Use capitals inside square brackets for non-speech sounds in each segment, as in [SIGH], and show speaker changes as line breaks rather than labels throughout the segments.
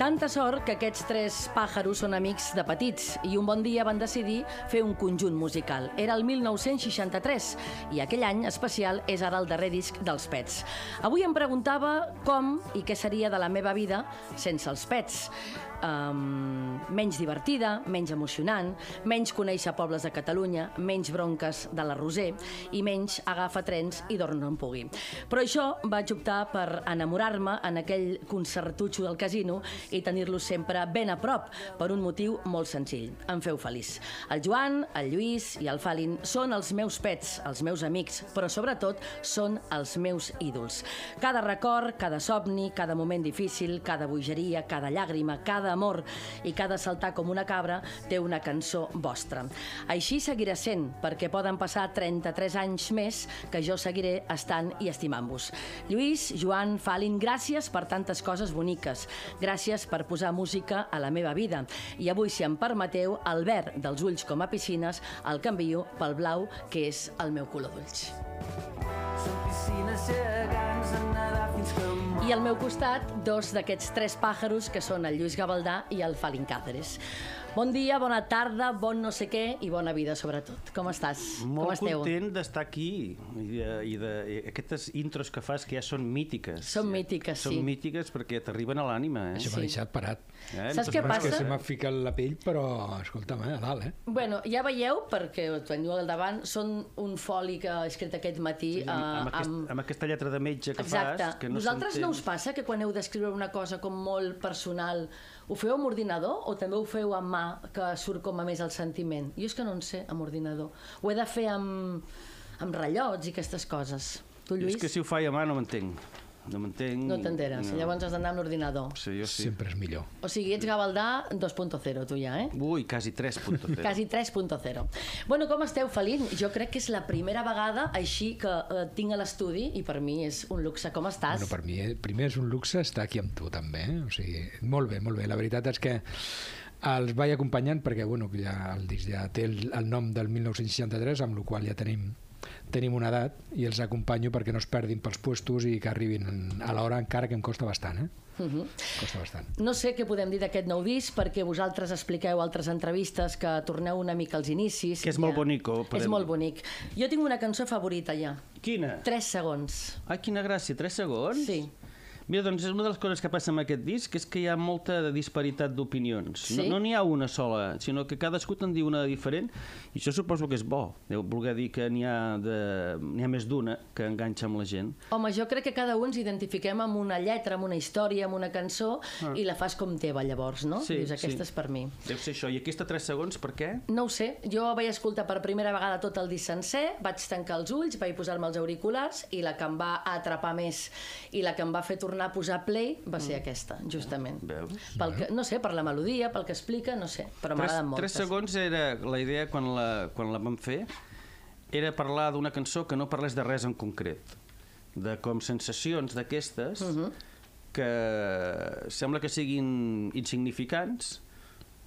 Tanta sort que aquests tres pàjaros són amics de petits i un bon dia van decidir fer un conjunt musical. Era el 1963 i aquell any especial és ara el darrer disc dels Pets. Avui em preguntava com i què seria de la meva vida sense els Pets. Um, menys divertida, menys emocionant, menys conèixer pobles de Catalunya, menys bronques de la Roser i menys agafa trens i dorm on pugui. Però això vaig optar per enamorar-me en aquell concertutxo del casino i tenir-lo sempre ben a prop per un motiu molt senzill. Em feu feliç. El Joan, el Lluís i el Falin són els meus pets, els meus amics, però sobretot són els meus ídols. Cada record, cada somni, cada moment difícil, cada bogeria, cada llàgrima, cada amor i cada saltar com una cabra té una cançó vostra. Així seguirà sent, perquè poden passar 33 anys més que jo seguiré estant i estimant-vos. Lluís, Joan, Falin, gràcies per tantes coses boniques. Gràcies per posar música a la meva vida. I avui, si em permeteu, el verd dels ulls com a piscines el canvio pel blau, que és el meu color d'ulls.
Són piscines gegants en nedar fins que mor.
I al meu costat, dos d'aquests tres pàjaros, que són el Lluís Gavaldà i el Falin Càceres. Bon dia, bona tarda, bon no sé què i bona vida, sobretot. Com estàs? Com
Molt
esteu?
content d'estar aquí i, de, i de, i aquestes intros que fas que ja són mítiques.
Són mítiques,
són
sí.
Són mítiques perquè t'arriben a l'ànima, eh?
Això m'ha
Sí.
deixat parat.
eh?
Saps què
No és que
passa?
se m'ha ficat la pell, però, escolta'm, eh, a dalt, eh?
Bueno, ja veieu, perquè ho teniu al davant, són un foli que he escrit aquest matí eh,
Amb, amb,
amb,
aquest, amb aquesta lletra de metge que
Exacte.
fas... Que no
Vosaltres
s'entén.
no us passa que quan heu d'escriure una cosa com molt personal, ho feu amb ordinador o també ho feu amb mà, que surt com a més el sentiment? Jo és que no en sé, amb ordinador. Ho he de fer amb, amb rellots i aquestes coses. Tu,
Jo
Lluís,
És que si ho faig a mà no m'entenc. No m'entenc...
no t'enteres. No. Llavors has d'anar amb l'ordinador.
Sí, jo sí.
Sempre és millor.
O sigui, ets Gavaldà 2.0, tu ja, eh?
Ui,
[LAUGHS]
quasi 3.0.
Quasi 3.0. Bueno, com esteu, Felip? Jo crec que és la primera vegada així que eh, tinc a l'estudi i per mi és un luxe. Com estàs?
Bueno, per mi, eh, primer és un luxe estar aquí amb tu, també. Eh? O sigui, molt bé, molt bé. La veritat és que els vaig acompanyant perquè, bueno, ja el disc ja té el, el nom del 1963, amb la qual cosa ja tenim tenim una edat i els acompanyo perquè no es perdin pels puestos i que arribin a l'hora encara que em costa bastant, eh? Uh
Mhm.
-huh. Costa bastant.
No sé què podem dir d'aquest nou disc, perquè vosaltres expliqueu altres entrevistes que torneu una mica als inicis.
Que és molt bonico, podem
És molt
dir.
bonic. Jo tinc una cançó favorita ja.
Quina?
3 segons.
Ai, quina gràcia, 3 segons?
Sí.
Mira, doncs és una de les coses que passa amb aquest disc, és que hi ha molta disparitat d'opinions.
Sí?
No no n'hi ha una sola, sinó que cadascú te'n diu una diferent, i això suposo que és bo. Deu voler dir que n'hi ha, de... n'hi ha més d'una que enganxa amb la gent.
Home, jo crec que cada un ens identifiquem amb una lletra, amb una història, amb una cançó, ah. i la fas com teva, llavors, no?
Sí,
Dius,
sí.
aquesta és per mi.
Deu ser això. I aquesta 3 segons, per què?
No ho sé, jo vaig escoltar per primera vegada tot el disc sencer, vaig tancar els ulls, vaig posar-me els auriculars i la que em va atrapar més i la que em va fer tornar a posar play va ser
Mm.
aquesta, justament.
Veus?
Pel que, no sé, per la melodia, pel que explica, no sé, però m'agraden molt.
3 segons era la idea quan la, quan la vam fer, era parlar d'una cançó que no parlés de res en concret, de com sensacions d'aquestes uh
Mhm.
-huh. que sembla que siguin insignificants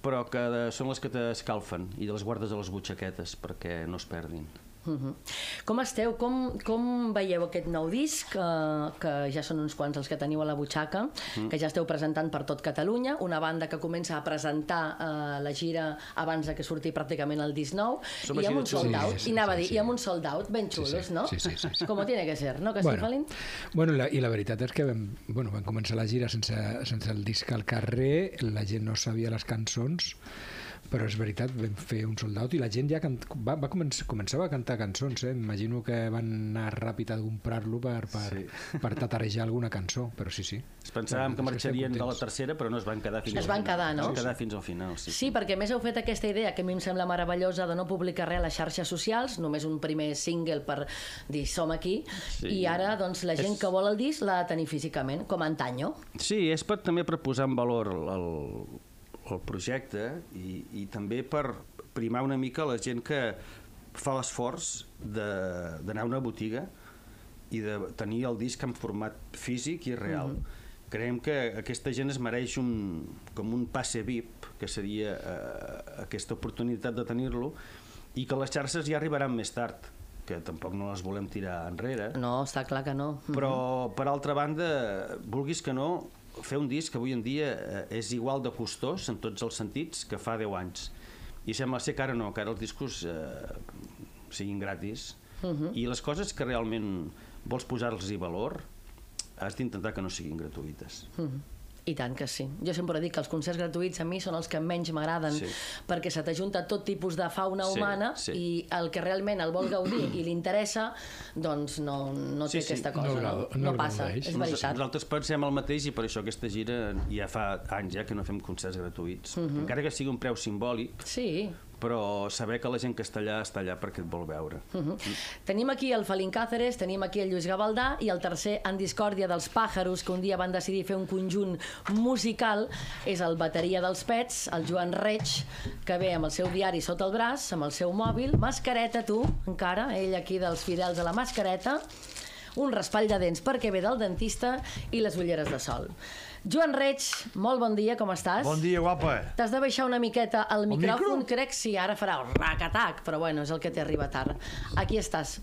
però que de, són les que t'escalfen i les guardes a les butxaquetes perquè no es perdin.
Uh -huh. Com esteu? Com, com veieu aquest nou disc? Uh, que ja són uns quants els que teniu a la butxaca,
Mhm.
mm. que ja esteu presentant per tot Catalunya, una banda que comença a presentar uh, la gira abans de que surti pràcticament el 19,
Som
i
així
amb
de
un sold
xulos.
out,
Sí, sí,
i anava a
sí,
dir,
sí.
i amb un sold out ben xulos,
sí.
no?
Sí, sí, sí, sí.
Com tiene que ser, no? Que sí, Valent?
bueno la, i la veritat és que vam, bueno, vam començar la gira sense, sense el disc al carrer, la gent no sabia les cançons, però és veritat, vam fer un soldat i la gent ja can... va, va començar, començava a cantar cançons, eh? imagino que van anar ràpid a comprar-lo per, per, sí. per tatarejar alguna cançó, però sí, sí.
Es pensàvem que
La veritat és estem
marxarien de la
contents.
tercera, però no es van quedar fins
Es
al
van
final.
quedar, no?
Es van quedar fins al final, sí.
Sí, perquè a més heu fet aquesta idea que a mi em sembla meravellosa de no publicar res a les xarxes socials, només un primer single per dir som aquí, sí.
Sí.
i ara doncs, la gent
És-
que vol el disc l'ha de tenir físicament, com antanyo.
Sí, és per, també per posar en valor el, el projecte i, i també per primar una mica la gent que fa l'esforç de- d'anar a una botiga i de tenir el disc en format físic i real. Mm -hmm. Creiem que aquesta gent es mereix un, com un passe VIP, que seria eh, aquesta oportunitat de tenir-lo, i que les xarxes ja arribaran més tard, que tampoc no les volem tirar enrere
No, està clar que no.
però per altra banda, vulguis que no, fer un disc que avui en dia eh, és igual de costós en tots els sentits que fa 10 anys. I sembla ser que ara no, que ara els discos eh, siguin gratis. Uh
Mhm.
-huh. I les coses que realment vols posar-los valor, has d'intentar que no siguin gratuïtes.
Mm,
Uh -huh.
I tant que sí. Jo sempre dic que els concerts gratuïts a mi són els que menys m'agraden,
Sí.
sí. perquè se t'ajunta tot tipus de fauna
Sí,
humana
sí.
i el que realment el vol gaudir i li interessa, doncs no, no
Sí,
té
sí.
aquesta
No
cosa.
agrada- eh? no
no,
el
passa,
gaudeix.
és
Nos-
veritat.
Nosaltres pensem el mateix i per això aquesta gira ja fa anys ja que no fem concerts gratuïts.
Mhm.
Encara que sigui un preu simbòlic,
Sí.
però saber que la gent castellà està allà perquè et vol veure.
Uh -huh. Tenim aquí el Felín Cáceres, tenim aquí el Lluís Gavaldà i el tercer en discòrdia dels Pàjaros, que un dia van decidir fer un conjunt musical, és el bateria dels Pets, el Joan Reig, que ve amb el seu diari sota el braç, amb el seu mòbil, mascareta, tu, encara, ell aquí dels fidels a la mascareta, un raspall de dents perquè ve del dentista i les ulleres de sol. Joan Reig, molt bon dia, com estàs?
Bon dia, guapa. eh?
T'has de baixar una miqueta el micròfon,
micro?
crec sí, ara farà el racatac, però bueno, és el que t'arriba tard. Aquí estàs.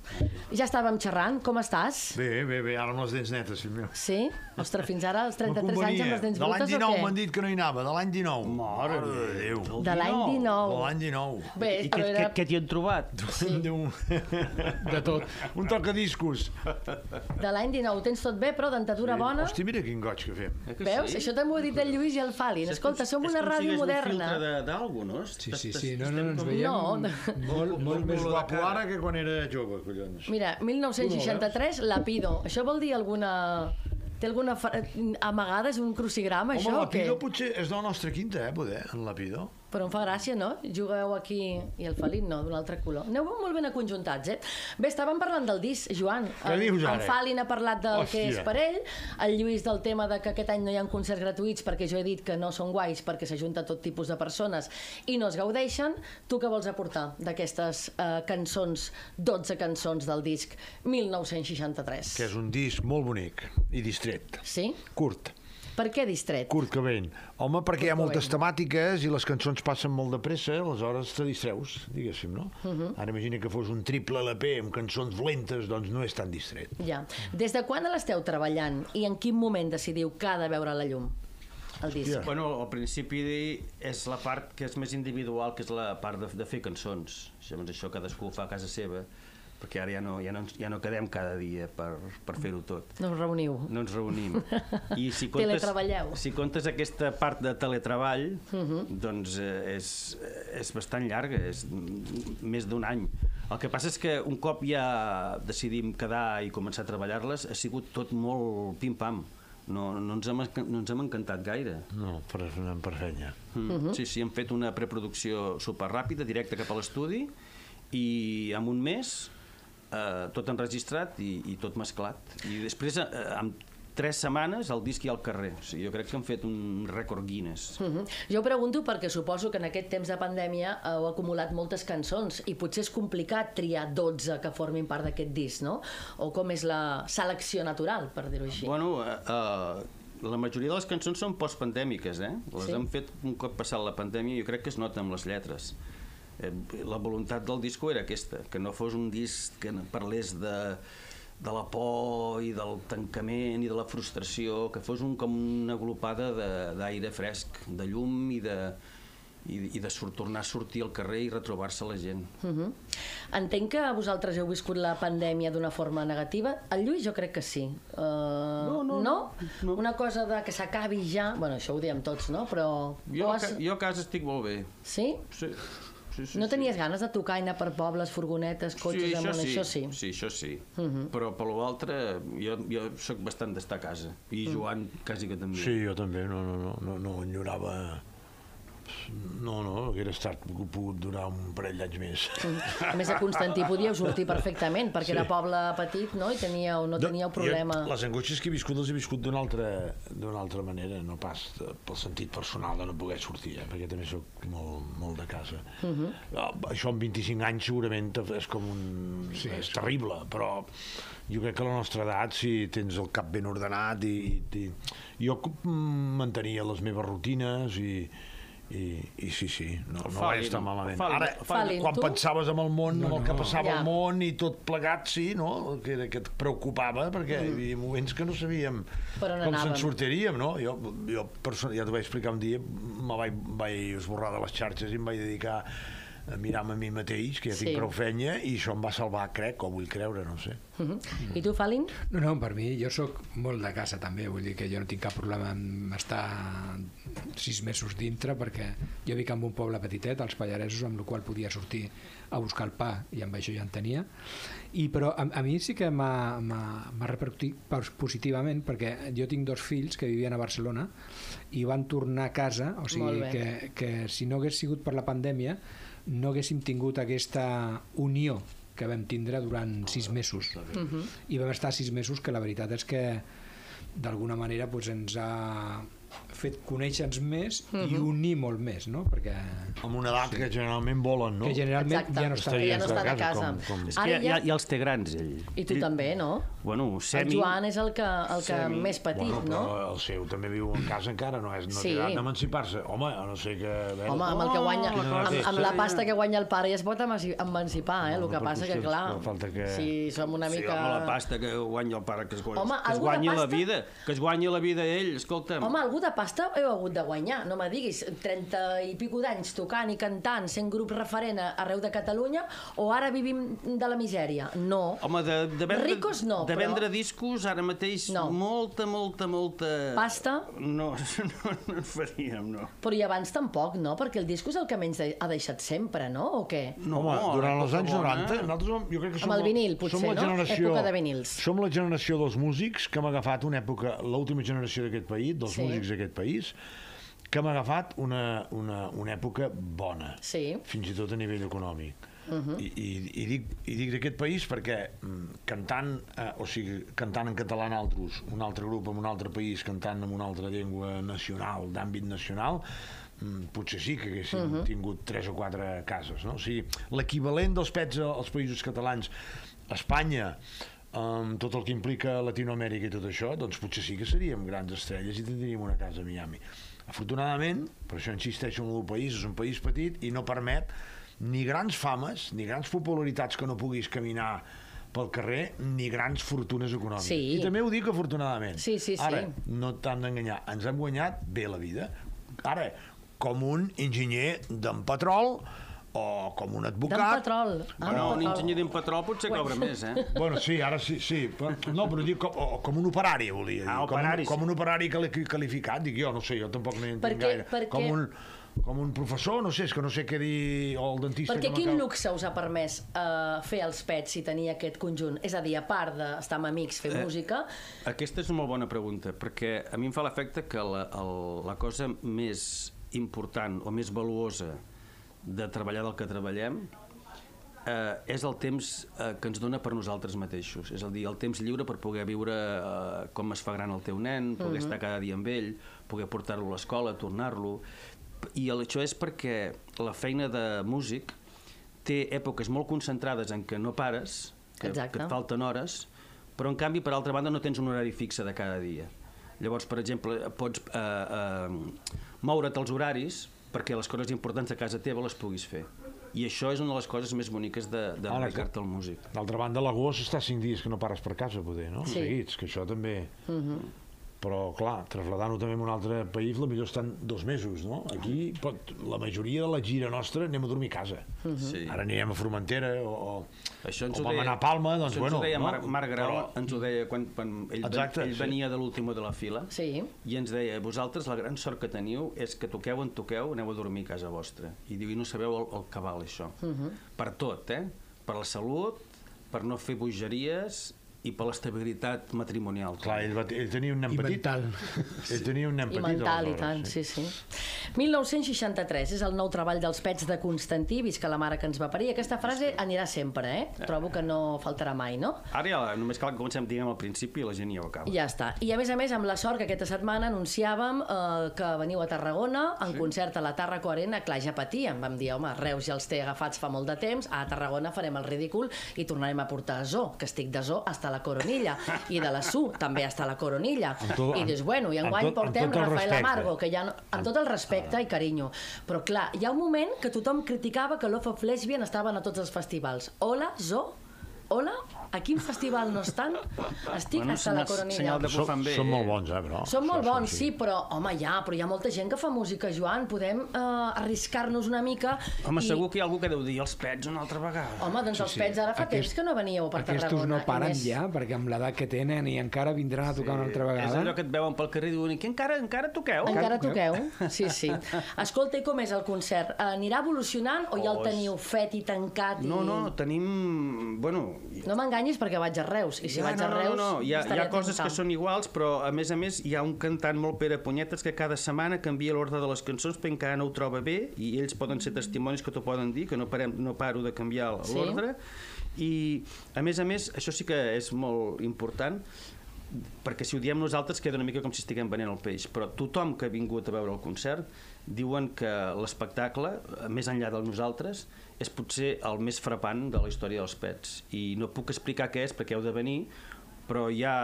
Ja estàvem xerrant, com estàs?
Bé, bé, bé, ara amb les dents netes, fill meu.
Sí? Ostres, fins ara,
[LAUGHS]
als 33 anys
M'acompanyia.
amb les dents
De l'any
brutes o
19
què?
m'han dit que no hi anava, de l'any 19. Mare de Déu.
De l'any 19.
De l'any 19.
Bé, Eh,
I què,
però
què,
era...
què t'hi han trobat?
[LAUGHS] Un,
De tot.
un tocadiscos.
De l'any 19 ho tens tot bé, però dentadura bona...
Hòstia, mira quin goig que fem.
Eh que
Veus?
sí?
Això també ho ha dit el Lluís i el Falin.
És
Escolta,
com-
som
és
una
com si
ràdio
hagués
moderna.
Un filtre de- d'algú, no?
Sí, sí, sí, no, no,
Estem
no ens
com-
veiem
No, no.
molt, molt més
Molt de
Guapo
cara.
ara que quan era jove, collons.
Mira, 1963, Lapido. Això vol dir alguna... Té alguna fa- amagada? És un crucigrama,
Home,
això? o
la
què?
Pido potser és de la nostra quinta, eh, poder, en la Pido.
Però em fa gràcia, no? Jugueu aquí i el Felip no, d'un altre color. Aneu molt ben acunjuntats, eh? Bé, estàvem parlant del disc, Joan.
Què
El-
dius
El
ara?
Falin ha parlat del Hòstia. que és
Hòstia.
per ell, el Lluís del tema de que aquest any no hi ha concerts gratuïts perquè jo he dit que no són guais perquè s'ajunta tot tipus de persones i no es gaudeixen. Tu què vols aportar d'aquestes eh, cançons, 12 cançons del disc 1963?
Que és un disc molt bonic i distret.
Sí?
Curt.
Per què distret?
Curt Cobain. Home, perquè hi ha
Kurt
moltes
Cobain.
temàtiques i les cançons passen molt de pressa, eh? aleshores te distreus, diguéssim, no? Uh -huh. Ara imagina que fos un triple LP amb cançons lentes, doncs no és tan distret.
Ja. Des de quan l'esteu treballant i en quin moment decidiu que ha de veure la llum? El disc.
Hòstia.
Bueno, al principi és la part que és més individual, que és la part de, de fer cançons. Llavors això cadascú ho fa a casa seva, perquè ara ja no, ja no, ens- ja no quedem cada dia per, per fer-ho tot.
No us reuniu.
No ens reunim. I si
Teletreballeu.
Si comptes aquesta part de teletreball, uh -huh. doncs eh, és, és bastant llarga, és m- més d'un any. El que passa és que un cop ja decidim quedar i començar a treballar-les, ha sigut tot molt pim-pam. No, no, ens hem, enca- no ens hem encantat gaire.
No, per anar per fenya.
Mm. Sí, sí, hem fet una preproducció superràpida, directa cap a l'estudi, i en un mes eh, tot enregistrat i, i tot mesclat. I després, eh, en tres setmanes, el disc i al carrer. O sigui, jo crec que hem fet un rècord Guinness.
Mm -hmm. Jo ho pregunto perquè suposo que en aquest temps de pandèmia heu acumulat moltes cançons i potser és complicat triar 12 que formin part d'aquest disc, no? O com és la selecció natural, per dir-ho així.
Bueno, eh, eh, la majoria de les cançons són postpandèmiques, eh? Les
Sí.
sí. hem fet un cop passat la pandèmia i jo crec que es nota amb les lletres. Eh, la voluntat del disco era aquesta, que no fos un disc que no parlés de, de la por i del tancament i de la frustració, que fos un, com una glopada de- d'aire fresc, de llum i de, i, i de sort, tornar a sortir al carrer i retrobar-se la gent.
Mm -hmm. Entenc que vosaltres heu viscut la pandèmia d'una forma negativa. El Lluís jo crec que sí. Uh, no,
no,
no, no? Una cosa de que s'acabi ja... Bueno, això ho diem tots, no? Però...
Jo,
Mm. o
a ca- jo a casa estic molt bé.
Sí?
Sí, sí, sí.
No tenies ganes de tocar i anar per pobles, furgonetes, cotxes... amunt, això sí.
[LAUGHS]
Mhm.
Sí, això sí. Uh -huh. Però per l'altre, jo, jo sóc bastant d'estar a casa. I
Mm.
Joan quasi que també.
Sí, jo també, no, no, no, no, no enyorava... No, no, haguera estat pogut durar un parell d'anys més.
A més, a Constantí podíeu sortir perfectament, perquè sí. era poble petit, no? I teníeu, no teníeu problema.
Jo, les angoixes que he viscut les he viscut d'una altra, d'una altra manera, no pas de- pel sentit personal de no poder sortir, eh? perquè també sóc molt, molt de casa. Uh
Mhm.
-huh. Això amb 25 anys segurament te- és com un... Sí, és terrible, però jo crec que a la nostra edat, si tens el cap ben ordenat i... i, i jo cu- mm, mantenia les meves rutines i, I, i sí, sí, no, no va
Fallin,
estar malament.
fallin.
Ara,
Fallin,
quan
tu?
pensaves en el món, no, el que passava
Ja.
al món i tot plegat, sí, no? Que, era, que et preocupava, perquè hi havia moments que no sabíem
Per on
com
anàvem.
se'n sortiríem, no? Jo, jo person... ja t'ho vaig explicar un dia, me vaig, vaig esborrar de les xarxes i em vaig dedicar a mirar-me a mi mateix, que ja
Sí.
tinc prou fenya, i això em va salvar, crec, o vull creure, no ho sé.
Mhm. I tu, Falin?
No, no, per mi, jo sóc molt de casa també, vull dir que jo no tinc cap problema en estar sis mesos dintre perquè jo vic en un poble petitet, als Pallaresos, amb el qual podia sortir a buscar el pa i amb això ja en tenia. I, però a, a mi sí que m'ha m'ha- m'ha repercutit pos- positivament perquè jo tinc dos fills que vivien a Barcelona i van tornar a casa, o sigui
Molt bé.
que, que si no hagués sigut per la pandèmia no haguéssim tingut aquesta unió que vam tindre durant sis mesos
Mhm.
i vam estar sis mesos que la veritat és que d'alguna manera doncs, ens ha fet conèixer-nos més i
Mhm.
unir molt més, no? Perquè
Amb una edat sí. que generalment volen, no?
que generalment ja no està
que ja
dins
no
de
està de
casa,
casa.
com- com-
És
Ara
que ja,
ja...
ja, ja els té grans, ell.
I tu
ell,
també, no?
Bueno,
El
semi...
Joan és el que, el que
Semi.
més petit,
bueno,
no?
però el seu també viu en casa encara, no és no
Sí.
sí. d'emancipar-se. Home, a no sé que... a veure-
Home, amb el que guanya,
Oh, la
amb,
cosa
amb la
és-
pasta que guanya el pare ja es pot emanci- emancipar, eh? El
No,
que
no,
passa que,
potser
clar,
fa falta que-
si som una
Sí,
mica...
home, la pasta que guanya el pare, que es, guanya,
Home,
que es
alguna
guanyi la
pasta?
vida, que es guanyi la vida ell, escolta'm.
Home, algú de pasta heu hagut de guanyar, no me diguis, 30 i pico d'anys tocant i cantant, sent grup referent a- arreu de Catalunya, o ara vivim de la misèria? No.
Home, de, de vendre,
Ricos no,
de
però-
vendre discos ara mateix
No.
molta, molta, molta...
Pasta?
No, [LAUGHS] no, no en faríem, no.
Però i abans tampoc, no? Perquè el disco és el que menys de- ha deixat sempre, no? O què?
No, home, durant els
cosa
anys
bona.
90, nosaltres som, jo crec que som,
Amb el
la-
vinil, potser,
som la
no?
generació,
Època de vinils.
Som la generació dels músics que hem agafat una època, l'última generació d'aquest país, dels
Sí.
músics d'aquest país, que hem agafat una, una, una època bona.
Sí.
fins i tot a nivell econòmic. Uh -huh. I, i, i dic, i dic d'aquest país perquè mm, cantant, eh, o sigui, cantant en català en altres, un altre grup en un altre país, cantant en una altra llengua nacional, d'àmbit nacional, mm, potser sí que haguéssim uh -huh. tingut tres o quatre cases, no? O sigui, l'equivalent dels pets a- als països catalans, a Espanya, amb tot el que implica Latinoamèrica i tot això, doncs potser sí que seríem grans estrelles i tindríem una casa a Miami. Afortunadament, per això insisteixo en el país, és un país petit i no permet ni grans fames, ni grans popularitats que no puguis caminar pel carrer, ni grans fortunes econòmiques.
Sí.
I també ho dic afortunadament.
Sí, sí, sí.
Ara, no t'han d'enganyar. Ens hem guanyat bé la vida. Ara, com un enginyer d'en Petrol o com un advocat...
D'en Petrol. Ah,
Bueno,
d'en
un
Petrol.
enginyer d'un patró potser cobra més, eh?
Bueno, sí, ara sí, sí. Però, no, però dic com, o, com un operari, volia dir.
Ah,
com,
operari,
un,
sí.
com un operari cali- qualificat, dic jo, no sé, jo tampoc n'he entenc
Perquè-
gaire.
perquè-
Com un, com un professor, no sé, és que no sé què dir, o el dentista...
Perquè
que
quin
m'acaba-
luxe us ha permès eh, fer els pets si tenia aquest conjunt? És a dir, a part d'estar amb amics, fer
Eh.
música...
Aquesta és una molt bona pregunta, perquè a mi em fa l'efecte que la, el, la cosa més important o més valuosa de treballar del que treballem eh, és el temps eh, que ens dona per nosaltres mateixos. És a dir, el temps lliure per poder viure eh, com es fa gran el teu nen, poder estar cada dia amb ell, poder portar-lo a l'escola, tornar-lo... I el- això és perquè la feina de músic té èpoques molt concentrades en què no pares, que,
Exacte.
que et falten hores, però en canvi, per altra banda, no tens un horari fixe de cada dia. Llavors, per exemple, pots eh, eh, moure't els horaris perquè les coses importants a casa teva les puguis fer. I això és una de les coses més boniques de, de
Ara que-
dedicar-te al músic.
D'altra banda, l'agost està 5 dies que no pares per casa, poder, no?
Sí. Mhm.
Seguits, que això també... Però, clar, traslladant-ho també a un altre país, la millor estan dos mesos, no? Aquí pot, la majoria de la gira nostra anem a dormir a casa.
Mhm.
Sí.
Ara anirem a Formentera o, o,
Això ens ho
o vam
deia,
anar a Palma, doncs
això ens
bueno...
ho deia
no?
Marc, Marc Grau,
Però-
ens ho deia quan, quan ell,
Exacte,
ell
sí.
venia de l'última de la fila
Sí.
i ens deia, vosaltres la gran sort que teniu és que toqueu on toqueu, aneu a dormir a casa vostra. I diu, i no sabeu el, el que val això. Per tot, eh? Per la salut, per no fer bogeries i per l'estabilitat matrimonial.
Clar, ell, va, ell tenia un nen
I
petit.
mental.
Ell tenia un
I
nen petit.
mental, i
aleshores,
tant, sí, sí. 1963 és el nou treball dels pets de Constantí, visca la mare que ens va parir. Aquesta frase anirà sempre, eh?
Ah.
Trobo que no faltarà mai, no?
Ara ja, només cal que comencem, diguem, al principi i la gent ja ho acaba.
Ja està. I a més a més, amb la sort que aquesta setmana anunciàvem eh, que veniu a Tarragona en sí. concert a la Tarraco Arena, clar, ja patíem. Vam dir, home, Reus ja els té agafats fa molt de temps, a Tarragona farem el ridícul i tornarem a portar Zoo, que estic de Zoo hasta a la Coronilla, i de la Su també està a la Coronilla.
Amb tot-
I dius, bueno, i
amb
enguany
tot- amb
portem
tot el
Rafael
respecte.
Amargo, que ja no... Amb tot el respecte
Ah.
i carinyo. Però clar, hi ha un moment que tothom criticava que Love of Lesbian estaven a tots els festivals. Hola, Zo? Hola? A quin festival no estan? Estic
Bueno,
hasta la
senyal-
Coronilla.
senyal de
Són,
Fan bé,
són molt
eh?
bons, eh, però.
Són molt
Això
bons, sí, però, home, ja, però hi ha molta gent que fa música, Joan. Podem eh, arriscar-nos una mica.
Home,
i...
segur que hi ha algú que deu dir els pets una altra vegada.
Home, doncs els pets ara fa temps que no veníeu per
Aquestos
Tarragona.
no paren
Inés.
ja, perquè amb l'edat que tenen i encara vindran a tocar una altra
És allò
vegada.
que et veuen pel carrer i diuen que encara, encara toqueu?
Encara toqueu? Sí, sí.
[LAUGHS]
Escolta, i com és el concert? Eh, Anirà evolucionant o ja el
Oh, és-
teniu fet i tancat? I...
No, no, tenim... Bueno, hi-
No m'enganyis perquè vaig a Reus, i si
Ja,
vaig a Reus...
No, no, no. Hi, ha, hi
estaré
ha coses
atenta.
que són iguals, però a més a més hi ha un cantant molt Pere Punyetes que cada setmana canvia l'ordre de les cançons perquè encara no ho troba bé i ells poden ser testimonis que t'ho poden dir, que no, parem, no paro de canviar
Mm. Sí.
l'ordre. I a més a més, això sí que és molt important, perquè si ho diem nosaltres queda una mica com si estiguem venent el peix, però tothom que ha vingut a veure el concert diuen que l'espectacle, eh, més enllà del nosaltres, és potser el més frapant de la història dels pets. I no puc explicar què és perquè heu de venir, però hi ha...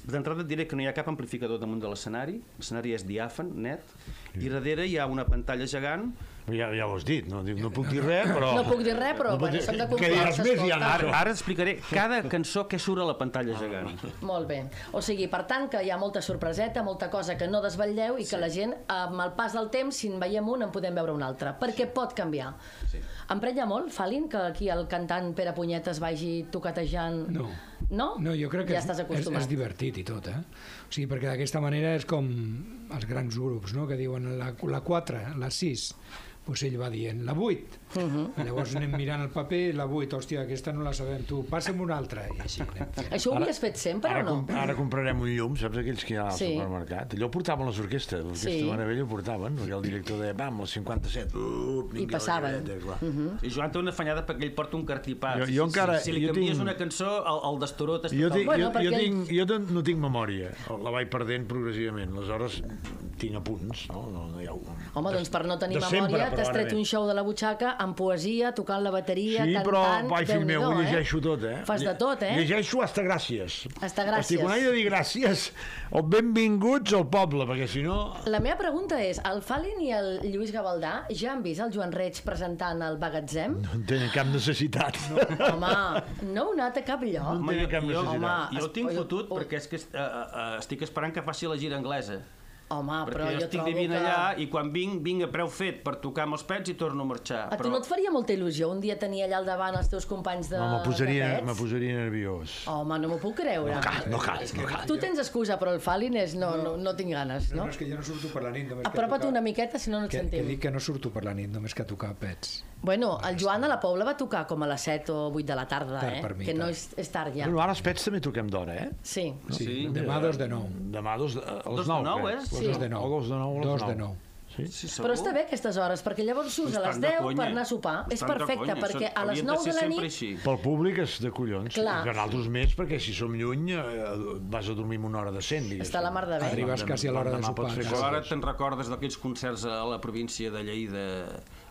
D'entrada et diré que no hi ha cap amplificador damunt de l'escenari, l'escenari és diàfan, net, i darrere hi ha una pantalla gegant
Ja, ja ho has dit, no, dic, no puc dir res, però...
No puc dir res, però,
puc
bueno,
dir-
s'han de
Què
comprovar,
diràs més, ja,
s'escolta.
ara,
Ara, ara explicaré cada cançó que surt a la pantalla gegant.
Molt bé. O sigui, per tant, que hi ha molta sorpreseta, molta cosa que no desvetlleu i que la gent, amb el pas del temps, si en veiem un, en podem veure un altre, perquè pot canviar. Sí. Emprenya molt, Falin, que aquí el cantant Pere Punyetes vagi tocatejant...
No.
No?
No, jo crec que
ja estàs
és,
acostumat.
és divertit i tot, eh? O sigui, perquè d'aquesta manera és com els grans grups, no?, que diuen la, la 4, la 6, doncs ell va dient la 8. Uh
Uh-huh.
-huh. Llavors anem mirant el paper, la 8, hòstia, aquesta no la sabem, tu, passa'm una altra, i així anem fent.
Això ho havies fet sempre
Ara,
o no?
comp- ara comprarem un llum, saps aquells que hi ha al
Sí.
supermercat? Allò ho portaven les orquestres, l'orquestra
Sí.
sí. Maravella ho portaven, perquè el director deia, vam, els 57, up,
I passaven. Mhm.
Uh -huh.
I Joan té una fanyada perquè ell porta un cartipàs.
Jo- jo
Si-
encara-
Si, si li
jo
canvies
tinc-
una cançó, el, el destorot és
Jo, tinc,
Bueno,
jo, jo,
perquè ell-
tinc, jo ten- no tinc memòria, la vaig perdent progressivament, aleshores tinc apunts, no? no, no hi ha un...
Home, doncs per no tenir
de sempre,
memòria t'has tret
probablement.
un show de la butxaca amb poesia, tocant la bateria,
Sí,
cantant...
però, ai, fill meu,
Déu-n'hi-do,
ho
eh?
llegeixo tot, eh?
Fas de tot, eh?
Llegeixo hasta gràcies.
Hasta gràcies.
Estic un any de dir gràcies o benvinguts al poble, perquè si no...
La meva pregunta és, el Falin i el Lluís Gavaldà ja han vist el Joan Reig presentant el Bagatzem?
No en tenen cap necessitat. No.
Home, no heu anat a cap lloc?
tenia cap necessitat.
jo ho tinc
es-
fotut
o-
perquè és que est- eh, eh, eh, estic esperant que faci la gira anglesa.
Home, Ah, però
perquè jo
jo
estic
trobo
vivint
que...
allà i quan vinc, vinc a preu fet per tocar amb els pets i torno a marxar.
A Ah, tu no et faria molta il·lusió un dia tenir allà al davant els teus companys de...
[LAUGHS] No, me posaria,
de
me
pets?
posaria nerviós.
Home, no m'ho puc creure. No
cal, no cal, no cal.
Tu tens excusa, però el Falin és... No, no, no tinc ganes,
No,
no?
no, és que jo no surto per la nit, només
Apropa't
que
una miqueta, si no, no et
que, que
sentim.
dic que no surto per la nit, només que a tocar pets.
Bueno, el Joan a la Pobla va tocar com a les 7 o 8 de la tarda,
Tard
eh?
per mi,
que no
tard.
és, és tard ja.
Bueno, ara els pets també toquem d'hora, eh?
Sí.
Sí,
Sí.
demà dos de nou.
Demà dos, de- a
Dos de
les 9,
nou,
crec.
eh?
Sí.
O
Dos de nou.
O dos de nou, o les
Dos de
9.
nou.
Sí?
Sí, segur.
Però està bé aquestes hores, perquè llavors surts a les 10 per anar a sopar. És perfecte, perquè a les 9 de la nit...
Així.
Pel públic és de collons.
Clar.
Per altres més, perquè si som lluny eh, vas a dormir amb una hora de cent, diguéssim.
Està la mar de bé.
Arribes quasi a l'hora de
Demà
sopar,
pots fer
quasi.
Però ara
coses.
te'n recordes d'aquells concerts a la província de Lleida,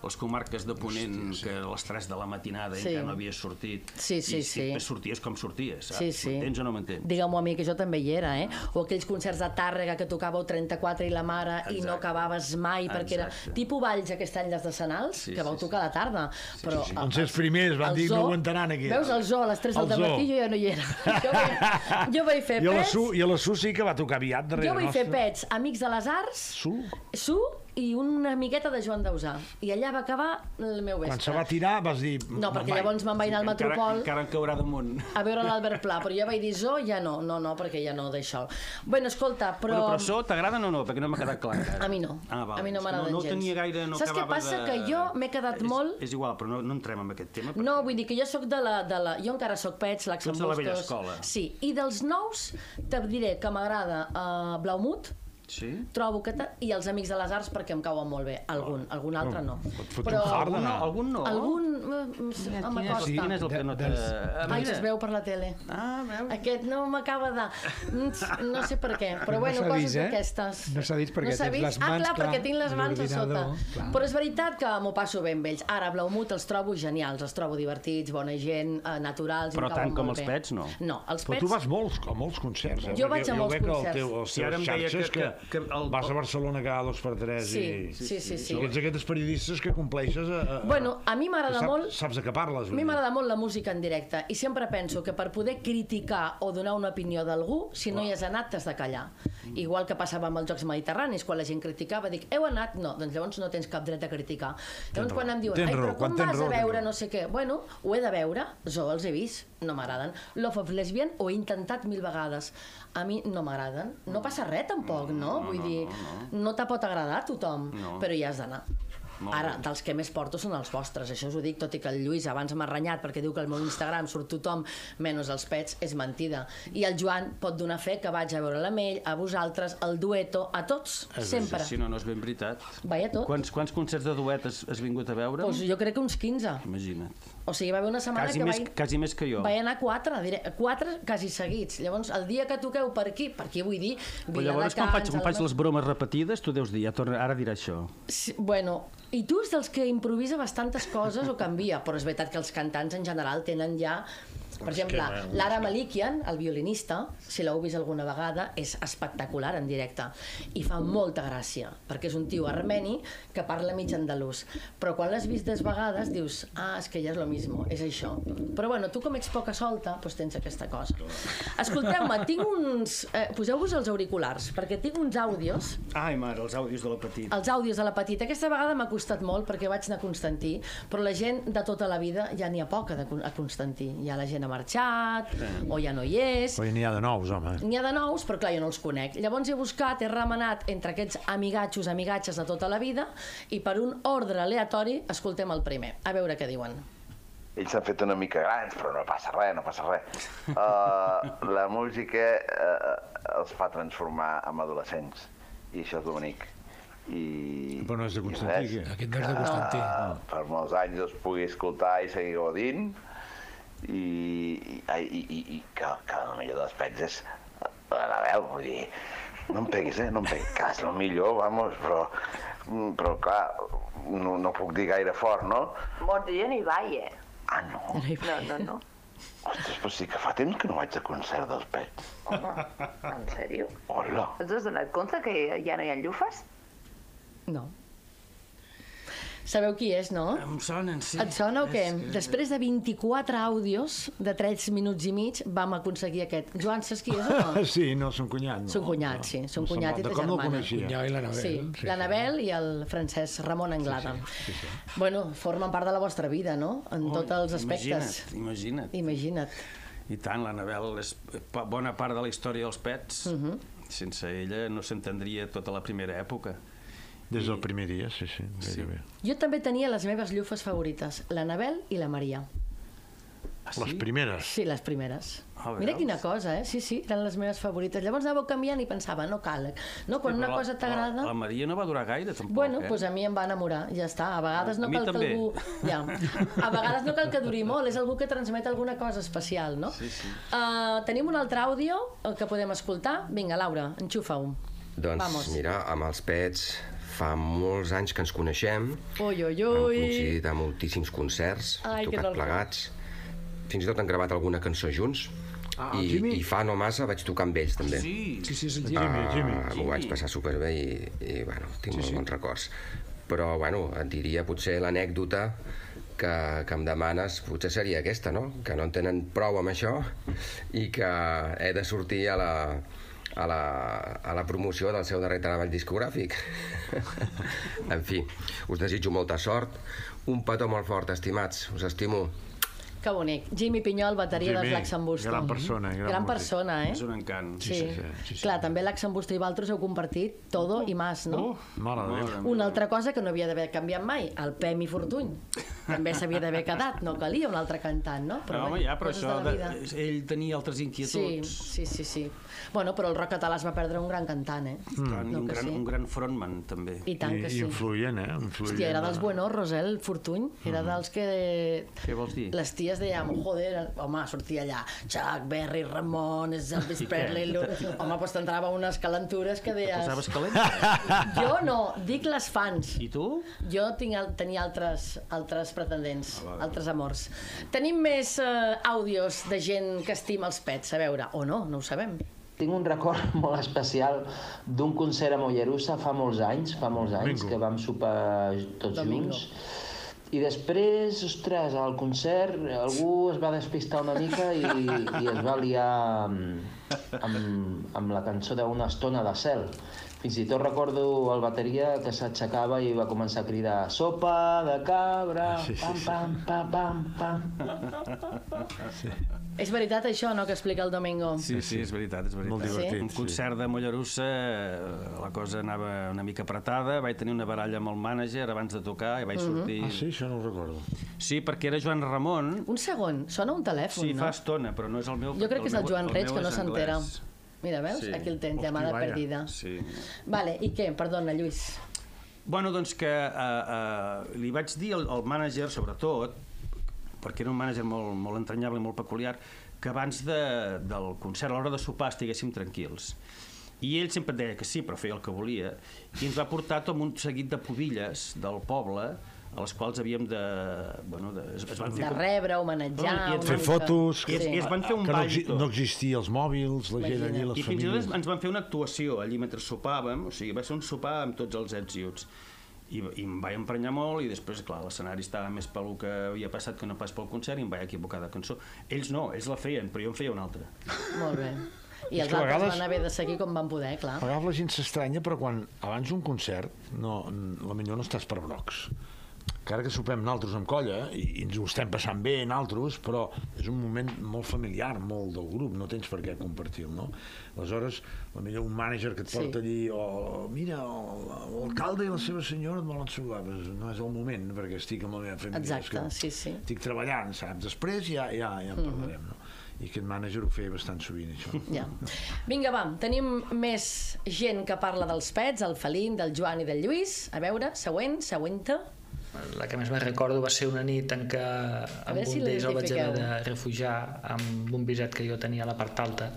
les comarques de Ponent, que a les 3 de la matinada
Sí.
encara no havies sortit.
Sí, sí,
I si
sí.
sorties com sorties, saps?
Sí, sí.
M'entens o no m'entens?
Digue-m'ho a mi, que jo també hi era, eh? O aquells concerts de Tàrrega que tocàveu 34 i la mare i
Exacte.
no acabaves mai, perquè era
Exacte.
tipus balls aquest any dels de Senals,
Sí,
que vau
sí,
tocar a la tarda. Però sí,
Van ser els Doncs primers, van dir, no aguantaran aquí.
Veus, el zoo a les 3 del
El zoo.
matí jo ja no hi
[LAUGHS]
era. Jo vaig, jo vaig fer
I a la
pets,
Su, i a la Su sí que va tocar aviat darrere
jo vaig fer
nostre.
pets, Amics de les Arts,
Su,
Su i una miqueta de Joan Dausà. I allà va acabar el meu vespre.
quan se va tirar vas dir...
No, perquè llavors me'n vaig anar al
encara,
Metropol
encara en caurà damunt.
a veure l'Albert Pla, però ja vaig dir zo, ja no, no, no, perquè ja no d'això. Bueno, escolta, però...
Bueno, però això t'agrada o no, no? Perquè no m'ha quedat clar. encara.
A mi no.
Ah, val.
A mi no
És que
m'agraden
no, no
gens.
Tenia gaire, no
Saps què
acabava
passa?
De...
Que jo m'he quedat
és,
molt-
És igual, però no, no entrem en aquest tema.
No, vull dir que jo sóc de la... De la... Jo encara sóc pets,
ets
l'accent
de la vella escola.
Sí, i dels nous te diré que m'agrada uh, Blaumut,
Sí?
trobo que... ta- I els Amics de les Arts perquè em cauen molt bé, algun, algun
Oh,
altre no.
fot un
Però
fart
Algun,
d'anar.
no, algun no?
algun eh, em
Sí, quin és
costa.
el que no te...
Dels-
Ah,
Ai,
mira.
es veu per la tele.
Ah, veus?
Aquest no m'acaba de... No sé per què, però
No
bueno,
s'ha
coses
vist, eh?
d'aquestes.
No s'ha vist perquè
s'ha
tens
vist. Ah,
les mans,
clar,
clar,
perquè tinc les
a
mans a sota.
l'ordinador, clar.
Però és veritat que m'ho passo bé amb ells. Ara, Blaumut els trobo genials, els trobo divertits, bona gent, eh, naturals... i em
Però
cauen
tant com
molt
els
bé.
Pets, no.
No, els
Però
pets...
tu vas molts, a molts concerts, eh?
Jo
Perquè
vaig a molts
veig que el
concerts.
Teu, els
Sí, ara em
teus
deia
xarxes que,
que- que- que el-
vas a Barcelona cada dos per tres
Sí,
i...
sí, sí, sí, sí.
Ets aquests periodistes que compleixes... A, a,
Bueno, a mi m'agrada
que sap-
molt-
Saps de què parles?
A mi m'agrada molt la música en directe i sempre penso que per poder criticar o donar una opinió d'algú, si no hi has anat, t'has de callar.
Mm.
Igual que passava amb els Jocs Mediterranis, quan la gent criticava, dic, heu anat? No, doncs llavors no tens cap dret a criticar. Llavors quan em diuen,
Tens
ai,
raó,
però
quan
com
tens
vas
raó,
a
tens
veure
raó."
no sé què? Bueno, ho he de veure, jo els he vist, no m'agraden. Love of Lesbian ho he intentat mil vegades. A mi no m'agraden.
Mm.
No passa res, tampoc, no? Vull dir, no te pot agradar a tothom, però hi has d'anar. Ara, dels que més porto són els vostres, això us ho dic, tot i que el Lluís abans m'ha renyat perquè diu que al meu Instagram surt tothom menys els pets, és mentida. I el Joan pot donar fe que vaig a veure la Mell, a vosaltres, el Dueto, a tots, sempre.
Si no, no és ben veritat.
Vaig a tot.
Quants, quants concerts de duet has, has vingut a veure?
Doncs jo crec que uns 15.
Imagina't.
O sigui, va haver una setmana
Quasi
que
més,
vaig...
quasi més que jo.
Vaig anar quatre, dire... quatre quasi seguits. Llavors, el dia que toqueu per aquí, per aquí vull dir...
Però llavors, quan faig, quan faig les bromes repetides, tu deus dir, ja torna, ara dirà això.
Sí, bueno, i tu ets dels que improvisa bastantes coses o canvia, però és veritat que els cantants en general tenen ja... Per exemple, l'Ara Malikian, el violinista, si l'heu vist alguna vegada, és espectacular en directe i fa molta gràcia, perquè és un tio armeni que parla mig andalús. Però quan l'has vist des vegades dius, ah, és que ja és lo mismo, és això. Però bueno, tu com ets poca solta, doncs tens aquesta cosa. Escolteu-me, tinc uns... Eh, Poseu-vos els auriculars, perquè tinc uns àudios
Ai, mare, els àudios de la petita.
els àudios de la petita. Aquesta vegada m'ha costat molt perquè vaig anar a Constantí, però la gent de tota la vida ja n'hi ha poca de, Con- a Constantí. Ja la gent ha marxat, o ja no hi és,
Però ja n'hi ha de nous, home.
N'hi ha de nous, però clar, jo no els conec. Llavors he buscat, he remenat entre aquests amigatxos, amigatxes de tota la vida, i per un ordre aleatori escoltem el primer. A veure què diuen.
ells s'han fet una mica grans, però no passa res, no passa
[LAUGHS]
res. Uh, la música uh, els fa transformar en adolescents, i això és lo bonic. I,
Però no és de
i
Constantí,
res,
Aquest no és de Constantí.
eh, per molts anys els pugui escoltar i seguir gaudint, i, i, ai, i, i, i que, que el millor dels pets és la veu, vull dir, no em peguis, eh? No em peguis, que és el millor, vamos, però, mm, però clar, no, no puc dir gaire fort, no?
Molta gent hi balla.
Ah, no?
No, no, no.
Ostres, però sí que fa temps que no vaig a concert dels Pets.
Home, en sèrio?
Hola!
Els has donat compte que ja no hi ha llufes?
No. Sabeu qui és, no?
Ah, Em sonen, sí.
Et sona o què? Després de 24 àudios de 3 minuts i mig vam aconseguir aquest. Joan, saps qui és o
[LAUGHS]
no?
Sí, no, són cunyat. No.
Són cunyats, sí, són
Em
cunyats i
sembla-
ta
de Com no
germana.
el coneixia?
Ja, i l'Anabel.
Sí, l'Anabel i el Francesc Ramon Anglada. Sí, sí, Bueno, formen part de la vostra vida, no? En oh, tots els aspectes.
Imagina't, imagina't.
Imagina't.
I tant, l'Anabel és pa- bona part de la història dels pets. Sense ella no s'entendria tota la primera època.
Des del primer dia, sí, sí, gairebé.
Jo també tenia les meves llufes favorites, l'Anabel i la Maria.
Ah,
Les primeres.
Sí, les primeres.
Ah,
Mira
veus?
quina cosa, eh? Sí, sí, eren les meves favorites. Llavors anàveu canviant i pensava, no cal. No, quan
Però
una
la-
cosa t'agrada...
La, la Maria no va durar gaire, tampoc.
Bueno,
eh?
doncs a mi em va enamorar, ja està. A vegades
A
no
mi
cal
també.
que algú... Ja. A vegades no cal que duri molt, és algú que transmet alguna cosa especial, no?
Sí, sí.
Uh, tenim un altre àudio eh, que podem escoltar. Vinga, Laura, enxufa-ho.
Doncs
Vamos.
mira, amb els pets fa molts anys que ens coneixem,
Ui, ui,
hem
ui.
coincidit a moltíssims concerts,
Ai,
Ai,
que
tocat
dolor.
plegats, fins i tot han gravat alguna cançó junts,
Ah, el
i,
Jimmy.
i fa no massa vaig tocar amb ells també.
Sí,
Sí, sí, és el
Ah,
Jimmy.
M'ho vaig passar superbé i, i bueno, tinc sí, molt bons records. Però, bueno, et diria potser l'anècdota que, que em demanes, potser seria aquesta, no? Que no en tenen prou amb això i que he de sortir a la, a la, a la promoció del seu darrer treball [LAUGHS] discogràfic. en fi, us desitjo molta sort, un petó molt fort, estimats, us estimo.
Que bonic. Jimmy Pinyol, bateria dels
Jimmy,
Laxambusto.
gran persona, gran
gran
músic.
persona, eh?
És un encant.
Sí. Sí, sí, sí, sí. Clar, també Laxambusto i Valtros heu compartit Todo i Mas, no?
Mare de Déu.
Una altra cosa que no havia d'haver canviat mai, el Premi Fortuny. També s'havia d'haver quedat, no calia un altre cantant, no?
Però, home,
bé,
ja, però
coses
això...
la
De,
vida.
ell tenia altres
Sí,
inquietuds.
sí, sí, sí. Bueno, però el rock català es va perdre un gran cantant, eh?
Clar, Mm. i
No
un,
que
gran,
sí.
un gran frontman, també.
I tant
I,
que
i
sí.
influent, eh? Influent.
Hòstia, era dels buenorros, eh, el Fortuny. Era
Mm-hmm.
dels que...
Què vols dir?
Les ties dèiem, joder, home, sortia allà Chuck Berry, Ramon, Elvis Presley... Lu... Home, doncs t'entrava unes calentures que deies...
Posaves calent?
Jo no, dic les fans.
I tu?
Jo tinc, al- tenia altres, altres pretendents,
Ah,
altres amors. Tenim més eh, àudios de gent que estima els pets, a veure, o no, no ho sabem.
Tinc un record [LAUGHS] molt especial d'un concert a Mollerussa fa molts anys, fa molts anys,
Domingo.
que vam sopar tots
Domingo.
junts. I després, ostres, al concert algú es va despistar una mica i, i es va liar amb, amb, amb la cançó d'una estona de cel. Fins i tot recordo el bateria que s'aixecava i va començar a cridar sopa de cabra,
Ah, Sí, sí,
pam,
sí.
pam, pam, pam, pam.
És veritat això, no?, que explica el Domingo.
Sí, sí, és veritat, és veritat.
Molt divertit,
Un
sí.
concert de Mollerussa, eh, la cosa anava una mica apretada, vaig tenir una baralla amb el mànager abans de tocar i vaig sortir...
Ah, sí? Això no ho recordo.
Sí, perquè era Joan Ramon,
Un segon, sona un telèfon,
sí,
no?
fa estona, però no és el meu...
Jo crec que és el
meu-
Joan Reig,
meu
que no
és
s'entera.
anglès.
Mira, veus?
Sí.
Aquí el tens,
Hosti,
llamada
vaya.
perdida.
Sí.
Vale, i què? Perdona, Lluís.
Bueno, doncs que eh, eh, li vaig dir al, al mànager, sobretot, perquè era un mànager molt, molt entranyable i molt peculiar, que abans de, del concert, a l'hora de sopar, estiguéssim tranquils. I ell sempre et deia que sí, però feia el que volia, i ens va portar tot un seguit de pubilles del poble, a les quals havíem de... Bueno, de es, es van fer
De
com-
rebre, homenatjar...
Bueno, i et
una
Fer
mica.
fotos...
I es- i es van fer un
que no,
ball i
exi-
tot.
no existia els mòbils, la gent
Imagina't.
allí, les
I fins i
famílies...
tot ens van fer una actuació allí mentre sopàvem, o sigui, va ser un sopar amb tots els ets i uts. I, I em vaig emprenyar molt i després, clar, l'escenari estava més pel que havia passat que no pas pel concert i em vaig equivocar de cançó. Ells no, ells la feien, però jo en feia una altra.
Molt bé. I
És
els
que a
altres
vegades-
van haver de seguir com van poder, clar.
A vegades la gent s'estranya, però quan abans d'un concert, no, n- la millor no estàs per blocs. Que ara que sopem naltros amb colla i, i ens ho estem passant bé naltros, però és un moment molt familiar, molt del grup, no tens per què compartir-lo, no? Aleshores, la millor un mànager que et
Sí.
porta allí, o mira, o l'alcalde i la seva senyora et volen saludar, però no és el moment, perquè estic amb la meva família. és
Exacte,
que
sí, Mm-hmm. sí.
Estic treballant, saps? Després ja, ja, ja en parlarem, no? I aquest mànager ho feia bastant sovint, això.
Ja. Vinga, va, tenim més gent que parla dels pets, el Felín, del Joan i del Lluís. A veure, següent, següenta.
La que més me recordo va ser una nit en què amb
veure
un
si
d'ells el vaig haver de
l'identifiqueu.
refugiar amb un visat que jo tenia a la part alta.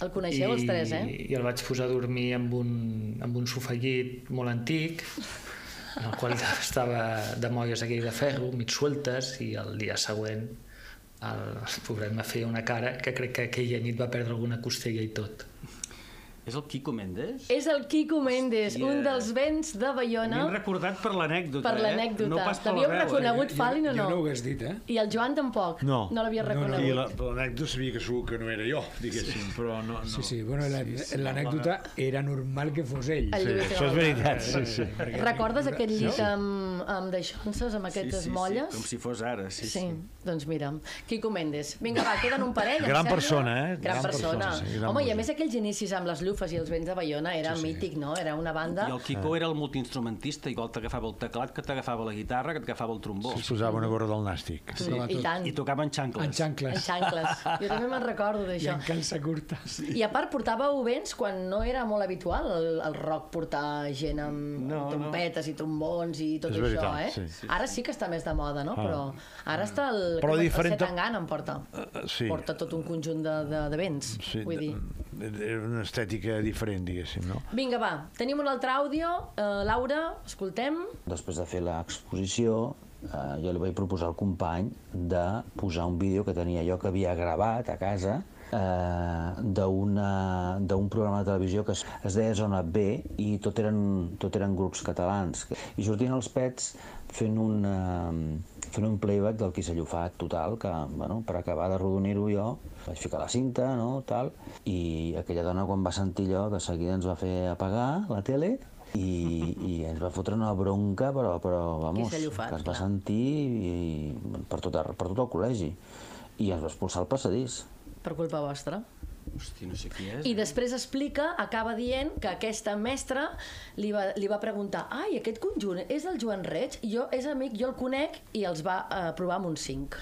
El coneixeu els tres, eh?
I el vaig posar a dormir amb un, amb un sofà llit molt antic, en el qual [LAUGHS] estava de molles aquell de ferro, mig sueltes, i el dia següent el pobret va fer una cara que crec que aquella nit va perdre alguna costella i tot.
És el Quico Méndez?
És el Quico Méndez,
Hòstia.
un dels vents de Bayona,
M'hem recordat per l'anècdota,
per l'anècdota.
Eh? No pas per la
T'havíeu
veu,
reconegut, Falin, o
Jo no ho
no?
hagués dit, eh?
I el Joan tampoc?
No.
No l'havia reconegut.
I la- però l'anècdota sabia que segur que no era jo, diguéssim, però no... no.
Sí, sí, bueno, la- l'anècdota era normal que fos ell.
El Lluís
Això és
Gavaldà.
veritat, sí, sí.
Recordes aquest llit amb, amb deixonses, amb
Sí,
aquestes
sí, sí,
molles?
com si fos ara, sí,
Sí,
sí.
doncs mira, Quico Méndez. Vinga, va, queden un parell, em
Gran
sembla.
persona, eh?
Gran,
Gran
persona.
persona, sí, gran
Home, i a
músic.
més aquells inicis amb les llufes i els vents de Bayona era sí, sí. mític, no? Era una banda...
I el
Ah.
Quico era el multiinstrumentista, igual t'agafava el teclat, que t'agafava la guitarra, que t'agafava el trombó.
Es posava una gorra del nàstic.
Sí, I tant,
I tocava en xancles.
En
en
xancles.
xancles. Jo també me'n recordo
I
d'això.
en calça curta.
I a part portàveu vents quan no era molt habitual el, el rock portar gent amb no, trompetes no. i trombons i tot
És
això,
veritat,
eh?
sí, sí,
Ara sí que està més de moda, no? Però ara està el...
Però
com es-
diferent
El
de-
Setangana em porta.
eh, sí.
Porta tot un conjunt de, de, de vents,
Sí,
vull dir.
era una estètica diferent, diguéssim, no?
Vinga, va, tenim un altre àudio. Uh, Laura, escoltem.
Després de fer l'exposició, eh, jo li vaig proposar al company de posar un vídeo que tenia jo que havia gravat a casa eh, d'una- d'un programa de televisió que es, es deia Zona B i tot eren, tot eren grups catalans. I sortien els pets fent un, eh, fent un playback del qui s'ha llufat total, que bueno, per acabar de rodonir-ho jo vaig ficar la cinta, no?, tal, i aquella dona quan va sentir allò de seguida ens va fer apagar la tele i, i ens va fotre una bronca, però, però vamos,
s'ha llufat,
que ens va
clar.
sentir i, per, tot, ar- per tot el col·legi. I ens va expulsar al passadís.
per culpa vostra.
Hosti, no sé qui és.
I després explica, acaba dient que aquesta mestra li va, li va preguntar ai, aquest conjunt és del Joan Reig? Jo, és amic, jo el conec i els va eh, provar amb un 5.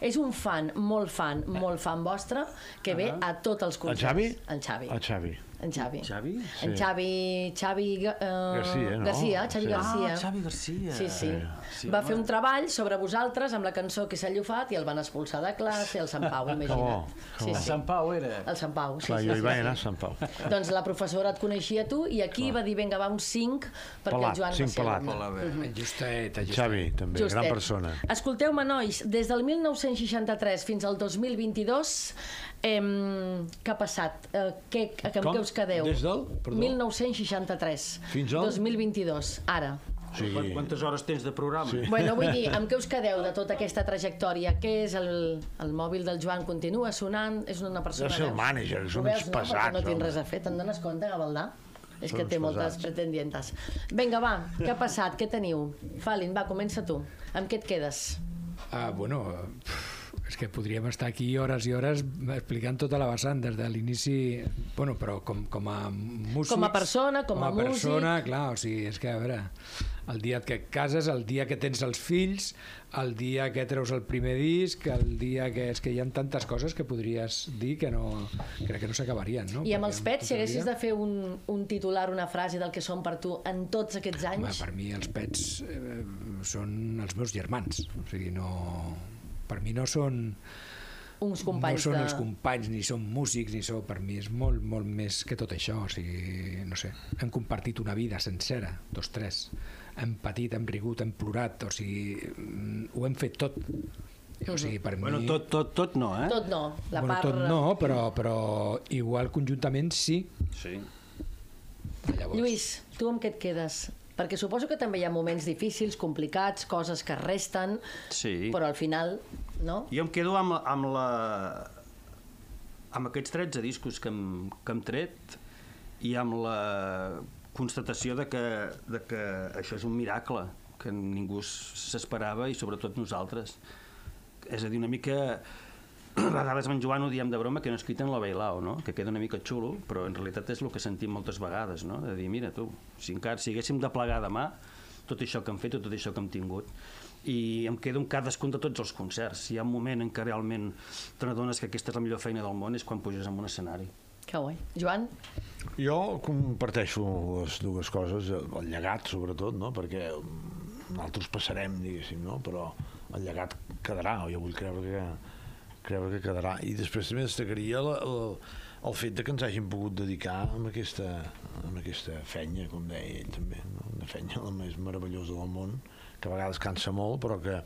És un fan, molt fan, molt fan vostre, que ve a tots els
Eh. Ah. El
concerts.
Xavi?
En Xavi.
El Xavi.
En Xavi.
Xavi?
En
Sí.
Xavi, Xavi Ga- eh,
Garcia, no?
Garcia, Xavi
Sí.
Garcia.
Ah, Xavi Garcia.
Sí, sí. sí va fer un treball sobre vosaltres amb la cançó que s'ha llufat i el van expulsar de classe, el Sant Pau, imagina't.
bo, [LAUGHS] que
sí,
bo.
sí.
Sant Pau era.
El Sant Pau, sí,
Clar,
sí,
jo
sí,
hi vaig
sí.
anar a Sant Pau.
Doncs la professora et coneixia tu i aquí va dir, vinga, va, un 5, perquè
Pelat,
el Joan
cinc
va ser
pelat.
alumne.
Hola, bé.
Justet,
El Xavi, també,
Justet.
gran persona.
Escolteu-me, nois, des del 1963 fins al 2022, em, què ha passat? Eh, què, a què, amb
Com?
què us quedeu?
Des del? Perdó?
1963.
Fins al?
2022, ara.
O
Sí.
sigui,
Quantes hores tens de programa? Sí.
Bueno, vull dir, amb què us quedeu de tota aquesta trajectòria? Què és el, el mòbil del Joan? Continua sonant? És una persona...
Deu ser el
veus?
mànager, és
Ho
un
veus, no?
pesat,
Perquè No
home.
tinc res a fer, te'n dones compte, Gavaldà? És
Són
que
uns
té moltes
pesats.
pretendientes. Vinga, va, què ha passat? Què teniu? Falin, va, comença tu. Amb què et quedes?
Ah, bueno, pf, és que podríem estar aquí hores i hores explicant tota la vessant des de l'inici, bueno, però com, com a músic...
Com a persona, com a
com a persona, clar, o sigui, és que, a veure, el dia que et cases, el dia que tens els fills, el dia que treus el primer disc, el dia que... És que hi ha tantes coses que podries dir que no... Crec que no s'acabarien, no?
I amb
Perquè
els pets, si
tot el
haguessis
dia-
de fer un, un titular, una frase del que són per tu en tots aquests
Home,
anys...
per mi els pets eh, són els meus germans, o sigui, no... Per mi no són...
uns companys
no són
de...
els companys, ni són músics, ni són... Per mi és molt, molt més que tot això. O sigui, no sé, hem compartit una vida sencera, dos, tres. Hem patit, hem rigut, hem plorat, o sigui, mm, ho hem fet tot. O sigui, per
Bueno,
mi...
tot, tot, tot no, eh?
Tot no, Mm-hmm. la
bueno,
part...
tot no, però, però igual conjuntament sí.
Sí.
Llavors,
Lluís, tu amb què et quedes? Perquè suposo que també hi ha moments difícils, complicats, coses que resten,
Sí.
però al final, no?
Jo em quedo amb, amb la... amb aquests 13 discos que hem, que hem tret i amb la constatació de que, de que això és un miracle que ningú s- s'esperava i sobretot nosaltres. És a dir, una mica... [CLEARS THROAT] A vegades amb en Joan ho diem de broma que no escrit en la bailao, no? que queda una mica xulo, però en realitat és el que sentim moltes vegades, no? de dir, mira tu, si encara si haguéssim de plegar demà, tot això que hem fet o tot això que hem tingut. I em quedo amb cadascun de tots els concerts. Hi ha un moment en què realment te n'adones que aquesta és la millor feina del món, és quan puges en un escenari.
Que guai. Joan?
Jo comparteixo les dues coses, el llegat sobretot, no? perquè nosaltres passarem, diguéssim, no? però el llegat quedarà, o jo vull creure que, creure que quedarà. I després també destacaria la, el, el fet de que ens hagin pogut dedicar amb aquesta, amb aquesta fenya, com deia ell també, no? una fenya la més meravellosa del món, que a vegades cansa molt, però que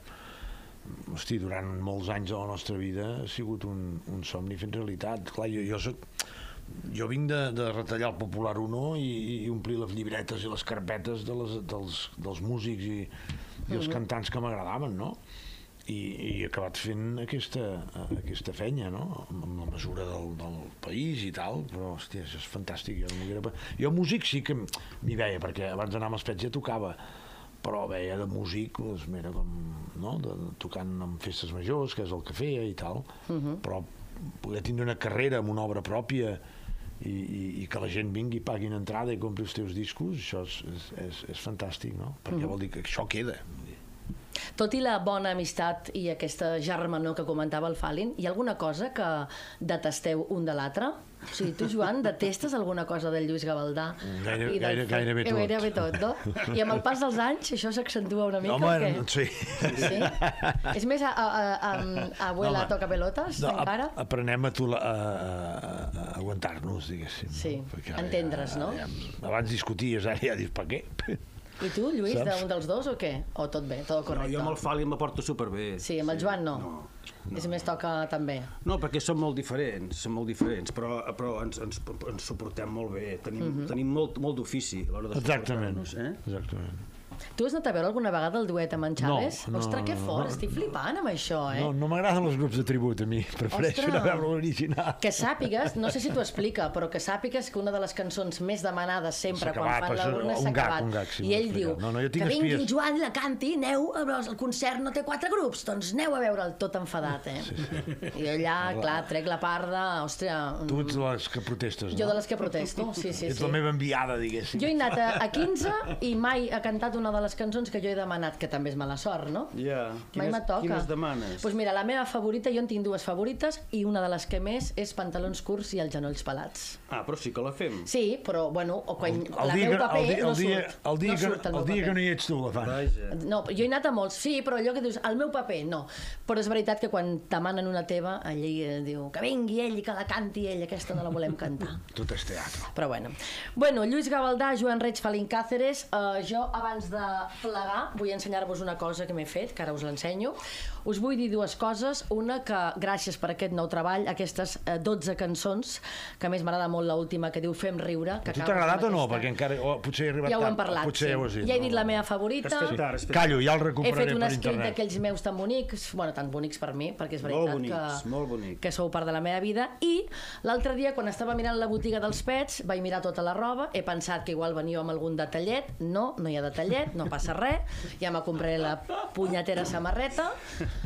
hosti, durant molts anys de la nostra vida ha sigut un, un somni fent realitat. Clar, jo, jo soc jo vinc de, de retallar el Popular 1 i, i omplir les llibretes i les carpetes de les, dels, dels músics i, i els cantants que m'agradaven, no? I, I he acabat fent aquesta, eh, aquesta fenya, no? Amb amb la mesura del, del país i tal, però, hòstia, això és fantàstic. Jo, no m'ho era... jo músic sí que m- m'hi veia, perquè abans d'anar amb els pets ja tocava, però veia de músic, doncs, mira, com, no? de, de, tocant en festes majors, que és el que feia i tal, uh -huh.
Mhm.
però poder tindre una carrera amb una obra pròpia i, i, i que la gent vingui, pagui una entrada i compri els teus discos, això és, és, és, és fantàstic, no? Perquè
Mhm.
uh -huh. vol dir que això queda. Vull dir,
Tot i la bona amistat i aquesta germanor que comentava el Falin, hi ha alguna cosa que detesteu un de l'altre? O sigui, tu,
[LAUGHS]
Joan, detestes alguna cosa del Lluís Gavaldà?
Gaire-
i del
gaire- gairebé
Eh,
tot.
Gairebé tot, no? I amb el pas dels anys això s'accentua una mica? o què?
no-
[LAUGHS]
sí. [LAUGHS]
Sí? És més, a, a, a, a Abuela
home.
toca pelotes,
No,
no,
a-
encara?
aprenem a, tula- a, a, a aguantar-nos, diguéssim.
Sí,
no? Perquè ara
entendre's,
ja-
no?
Ja, abans discuties, ara ja dius, per què? [LAUGHS]
I tu, Lluís,
Saps?
d'un dels dos o què? O tot bé, tot
No,
correcte?
jo amb el Fali me porto superbé.
Sí, amb el Joan no.
No,
no. És més, toca també.
No, perquè som molt diferents, som molt diferents, però, però ens, ens, ens suportem molt bé, tenim, tenim molt, molt d'ofici a l'hora de
Exactament.
suportar-nos. Eh?
Exactament.
Tu has anat a veure alguna vegada el duet amb en Chaves?
No, no,
Ostres, que
no,
fort,
no,
estic flipant amb això, eh?
No, no m'agraden els grups de tribut, a mi. Prefereixo anar a
Ostres.
veure l'original.
Que sàpigues, no sé si t'ho explica, però que sàpigues que una de les cançons més demanades sempre
S'ha
quan
acabat,
fan la
això,
l'urna s'ha
un gag,
acabat.
un gag, sí,
I ell
m'ho
diu,
explica. No, no, jo tinc
que vingui
espies.
en Joan i la canti, aneu, el concert no té quatre grups, doncs aneu a veure'l tot enfadat, eh? Sí, sí. I allà, clar, trec la parda, ostres...
Tu ets de les que protestes,
Jo
no?
de les que protesto, sí, sí,
Ets
sí.
la meva enviada, diguéssim.
Jo he anat a, a 15 i mai he cantat una de les cançons que jo he demanat, que també és mala sort, no?
Ja.
mai
Quines-
me toca.
Quines demanes?
Doncs pues mira, la meva favorita, jo en tinc dues favorites, i una de les que més és pantalons curts i els genolls pelats.
Ah, però sí que la fem.
Sí, però, bueno, o quan el,
El
la
dia,
meu
que,
paper
el, dia,
no
el, dia,
surt.
el, dia
no
que,
surt el,
el dia que no hi ets tu, la fan.
Vaja.
No, jo he anat a molts, sí, però allò que dius, el meu paper, no. Però és veritat que quan demanen una teva, allí eh, diu que vingui ell i que la canti ell, aquesta no la volem cantar.
Tot és teatre.
Però bueno. Bueno, Lluís Gavaldà, Joan Reig, Falín Càceres, eh, jo abans de plegar vull ensenyar-vos una cosa que m'he fet, que ara us l'ensenyo. Us vull dir dues coses. Una, que gràcies per aquest nou treball, aquestes eh, 12 cançons, que a més m'agrada molt l'última que diu Fem riure. Que
Tu t'ha
acabes amb
agradat o no?
aquesta-
Perquè encara... O potser he arribat
ja ho hem
tard,
parlat,
Potser
sí.
ja ho has dit.
ja he dit
no?
la meva favorita.
Has fet tard, has fet tard.
Callo, ja el
He fet
recuperaré
un
per
escrit
internet.
d'aquells meus tan bonics, bueno, tan bonics per mi, perquè és veritat
Molt bonics,
que,
molt bonics.
que sou part de la meva vida. I l'altre dia, quan estava mirant la botiga dels pets, vaig mirar tota la roba, he pensat que igual veníeu amb algun detallet, no, no hi ha detallet, no passa res, ja me compraré la punyetera samarreta.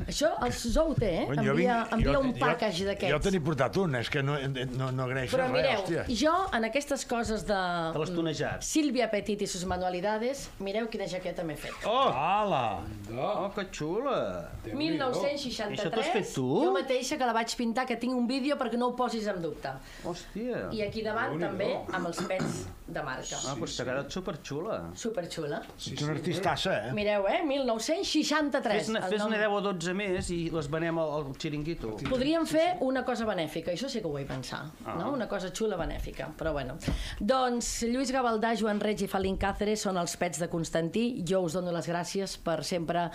Això el Zou té, eh?
Bueno, jo
envia,
vinc-
envia
jo-
un
jo-
package
Jo te
d'aquests.
n'he portat un, és que no, no, no agraeixes
Però
res,
mireu,
hòstia.
jo en aquestes coses de...
Te
Mm.
l'has tonejat.
Sílvia Petit i sus manualidades, mireu quina jaqueta m'he fet.
Oh! Hala!
Oh, que xula!
1963,
Això t'has fet tu?
jo mateixa que la vaig pintar, que tinc un vídeo perquè no ho posis en dubte.
Ah, Hòstia!
I aquí davant també amb els pets de marca.
Ah, doncs t'ha quedat superxula.
Superxula.
Ets una artistassa, eh?
Mireu, eh? 1963.
Fes-ne
el
fes
nom.
10 o 12 més i les venem al, al xiringuito.
Podríem fer una cosa benèfica, això sí que ho vull pensar, no? una cosa xula benèfica, però bueno. Doncs Lluís Gavaldà, Joan Reig i Felín Cáceres són els pets de Constantí, jo us dono les gràcies per sempre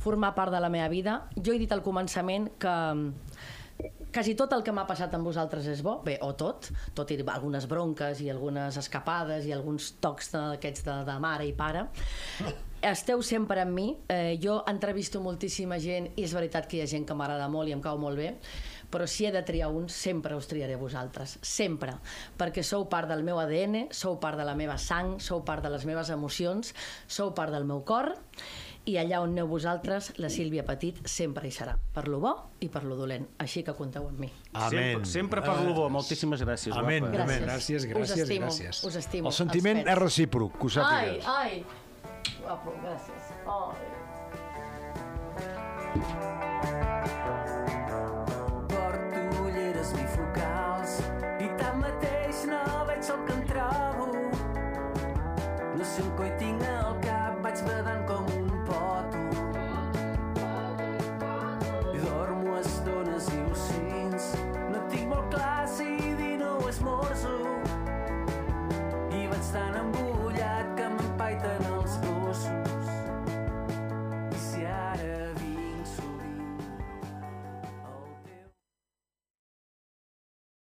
formar part de la meva vida. Jo he dit al començament que quasi tot el que m'ha passat amb vosaltres és bo, bé, o tot, tot i algunes bronques i algunes escapades i alguns tocs d'aquests de, de mare i pare. Esteu sempre amb mi, eh, jo entrevisto moltíssima gent i és veritat que hi ha gent que m'agrada molt i em cau molt bé, però si he de triar un, sempre us triaré a vosaltres, sempre, perquè sou part del meu ADN, sou part de la meva sang, sou part de les meves emocions, sou part del meu cor, i allà on aneu vosaltres, la Sílvia Petit sempre hi serà, per lo bo i per lo dolent, així que compteu amb mi.
Amén.
Sempre, sempre parlo bo. Moltíssimes gràcies,
Amén.
guapa.
Gràcies.
gràcies,
us
gràcies,
estimo,
gràcies.
Us estimo.
El sentiment
els
és
pets.
recíproc, que ho
Ai,
sàpigues.
ai. Guapo, gràcies. Ai.
Porto ulleres bifocals i tanmateix no veig el que em trobo. No sé on coi